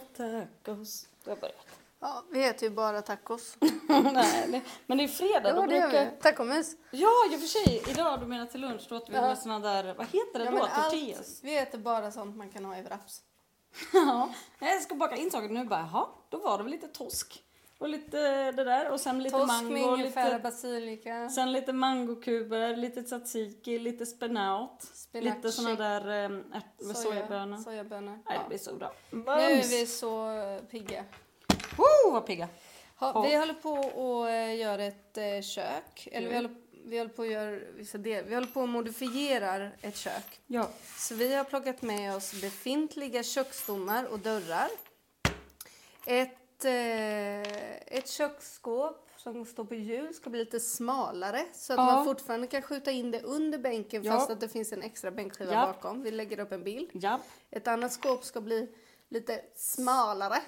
tacos. Du har börjat. Ja, vi äter ju bara tacos. Nej, det, men det är fredag. Ja, då det gör brukar... vi. Tacomys. Ja, i och för sig. Idag, du menar till lunch, då åt vi Ja. med såna där, vad heter det Ja, då? men allt- Tortillas? vi äter bara sånt man kan ha i wraps. Ja. Jag ska baka in saker nu bara, jaha, då var det väl lite tosk och lite det där och sen lite Torsk med mango och ingefära, lite, basilika, sen lite mangokuber, lite tzatziki, lite spenat, spinaci, lite såna där em, ärt- med soja- sojabönor. sojabönor. Nej, det Ja. blir så bra. Nu är vi så eh, pigga. Woo, Oh, vad pigga! Ha, Ja. Vi håller på att eh, göra ett eh, kök. Eller vi Mm. håller, vi håller på att göra vissa del. Vi håller på att modifiera ett kök. Ja. Så vi har plockat med oss befintliga köksstommar och dörrar. Ett, eh, ett köksskåp som står på hjul ska bli lite smalare så att Ja. man fortfarande kan skjuta in det under bänken Ja. fast att det finns en extra bänkskiva Ja. bakom. Vi lägger upp en bild. Ja. Ett annat skåp ska bli lite smalare.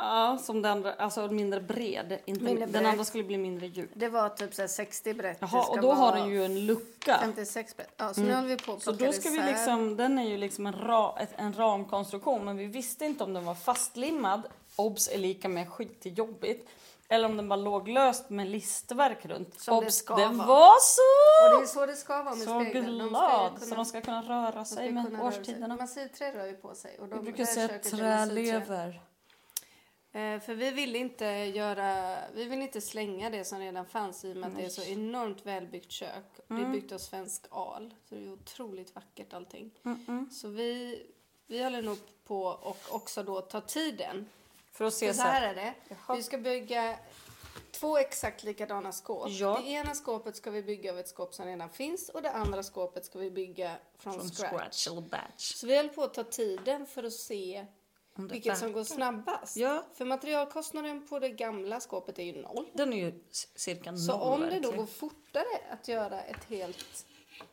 ja, som den andra, alltså mindre bred. Inte, Mindre Den bred. andra skulle bli mindre djup. Det var typ så här 60 brett. Det Jaha, ska och då har vara den ju en lucka. 56 brett. Ja, så nu håller vi på att Så plocka då ska vi isär. liksom, den är ju liksom en, ra, ett, en ramkonstruktion men vi visste inte om den var fastlimmad, obs är lika med skitjobbigt, eller om den bara låg löst med listverk runt. Som det obs, ska det vara. var Och det så! är så det ska vara med Så speglar. De ska ju glad! kunna- Så de ska kunna röra Man ska sig ju kunna med röra sig. årstiderna. Massivträ rör ju på sig. Och de Vi brukar det här säga köket är massivträ. trälever. Eh, För vi vill inte göra, vi vill inte slänga det som redan fanns i och med att det är så enormt välbyggt kök. Det Mm. är byggt av svensk al, så det är otroligt vackert allting. Så vi, vi håller nog på och också då ta tiden. För att se För så så här. här är det, Jaha. vi ska bygga två exakt likadana skåp. Ja. Det ena skåpet ska vi bygga av ett skåp som redan finns och det andra skåpet ska vi bygga från, From scratch. scratch eller batch. Så vi höll på att ta tiden för att se Om det vilket som verkar. går snabbast. Ja. För materialkostnaden på det gamla skåpet är ju noll. Den är ju c- cirka noll. Så om det då Mm, verkligen. går fortare att göra ett helt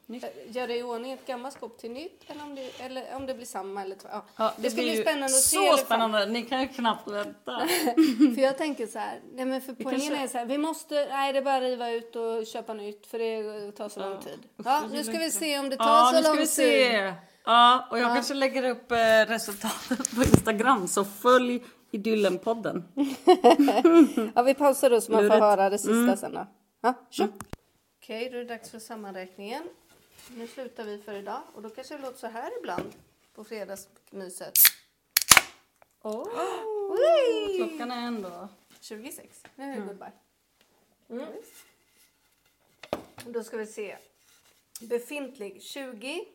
Nytt. äh, göra i ordning ett gammalt skåp till nytt eller om det, eller om det blir samma eller tvär- ja. Ja, det, det ska blir bli ju spännande att så se liksom. i alla fall. spännande. Ni kan ju knappt vänta. För jag tänker så här, nej men för poängen kanske- är så här, vi måste, nej det är bara att riva ut och köpa nytt för det tar så lång tid. Ja, nu ska vi se om det tar Ja, så nu ska lång vi tid. se. Ja, och jag kanske lägger upp eh, resultatet på Instagram, så följ Idyllenpodden. Ja, vi pausar då så man får Lurigt. höra det sista sen då. Ja, tjo. Okej, då är det dags för sammanräkningen. Nu slutar vi för idag och då kanske det låter så här ibland på fredagsmyset. Oh. Oj! Klockan är ändå... 26. Nu är det goodbye. Mm. Då ska vi se. Befintlig 20.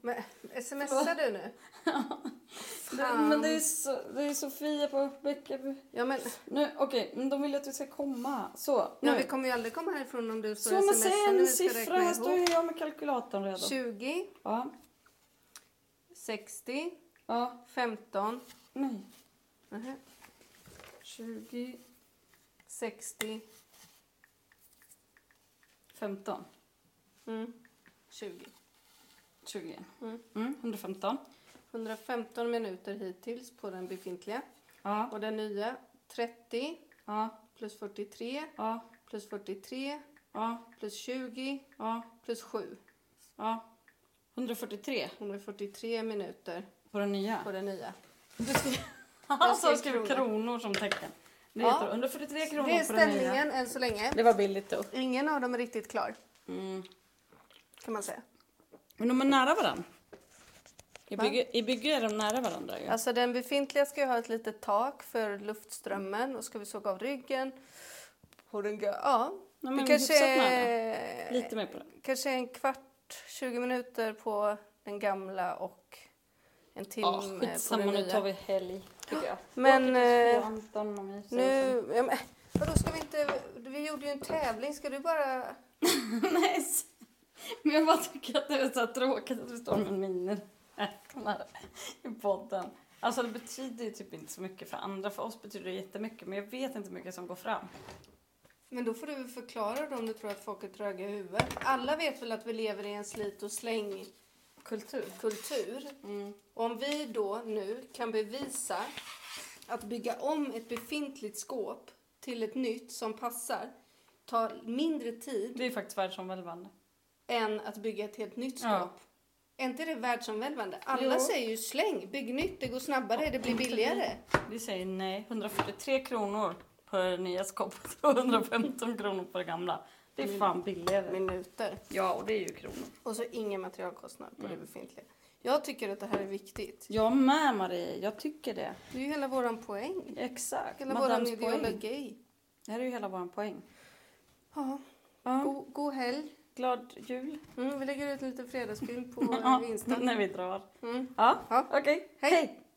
Men, smsar du nu? Fan. Men det är, så, det är Sofia på Bäckeby. Ja, men, Nu, okej, men de vill att vi ska komma. Så, nu. ja, vi kommer ju aldrig komma härifrån om du så står och men smsar säg när en vi ska siffra, räkna här står ihop. ju jag med kalkylatorn redan. 20, Ja, 60, ja, 15, nej. nähä, 20, 60, 15, mm, 20. 20. Mm. Mm, 115. 115 minuter hittills på den befintliga. Ja, Och den nya 30 ja, plus 43 ja, plus 43 ja, plus 20 ja. plus 7. Ja. 143 143 minuter på den nya. på den nya. Han sa Jag skrev skriv kronor. kronor som tecken. Det Ja. heter 143 kronor Det är på den nya. ställningen än så länge. Det var billigt då. Ingen av dem är riktigt klar Mm. kan man säga. Men de är nära varandra. I Va? bygge, I bygge är de nära varandra ju. Alltså den befintliga ska ju ha ett litet tak för luftströmmen och ska vi såga av ryggen. Och den gör, ja, Nej, det men kanske hyfsat nära. är, eh, Lite mer på den. kanske är en kvart, 20 minuter på den gamla och en timme Ja, eh, på skitsamma den nu tar nya. vi helg. tycker jag. Men, Jag tycker eh, Sofia och Anton och mig, så- Nu, ja, men, vadå ska vi inte, vi gjorde ju en tävling, ska du bara... Nej, s- men jag bara tycker att det är så här tråkigt att vi står med miniräknare i podden. Alltså det betyder ju typ inte så mycket för andra. För oss betyder det jättemycket men jag vet inte hur mycket som går fram. Men då får du väl förklara då om du tror att folk är tröga i huvudet. Alla vet väl att vi lever i en slit och släng Kultur. kultur. Mm. Och om vi då nu kan bevisa att bygga om ett befintligt skåp till ett nytt som passar tar mindre tid Det är faktiskt världsomvälvande. än att bygga ett helt nytt skåp. Ja. Är inte det världsomvälvande? Alla Jo. säger ju släng, bygg nytt, det går snabbare, det blir billigare. Vi säger nej. 143 kronor på det nya skåpet och 115 kronor på det gamla. Det är fan billigare. Minuter. Ja, och det är ju kronor. Och så ingen materialkostnad på Mm. det befintliga. Jag tycker att det här är viktigt. Jag med Marie, jag tycker det. Det är ju hela våran poäng. Exakt. Hela våran Madames poäng. ideologi. Det här är ju hela vår poäng. Ja, Ja. god, god helg. Glad jul. Mm, vi lägger ut en liten fredagsfilm på Ja, eh, Insta. när vi drar. Mm. Ja, Ja. okej. Hej. Hej.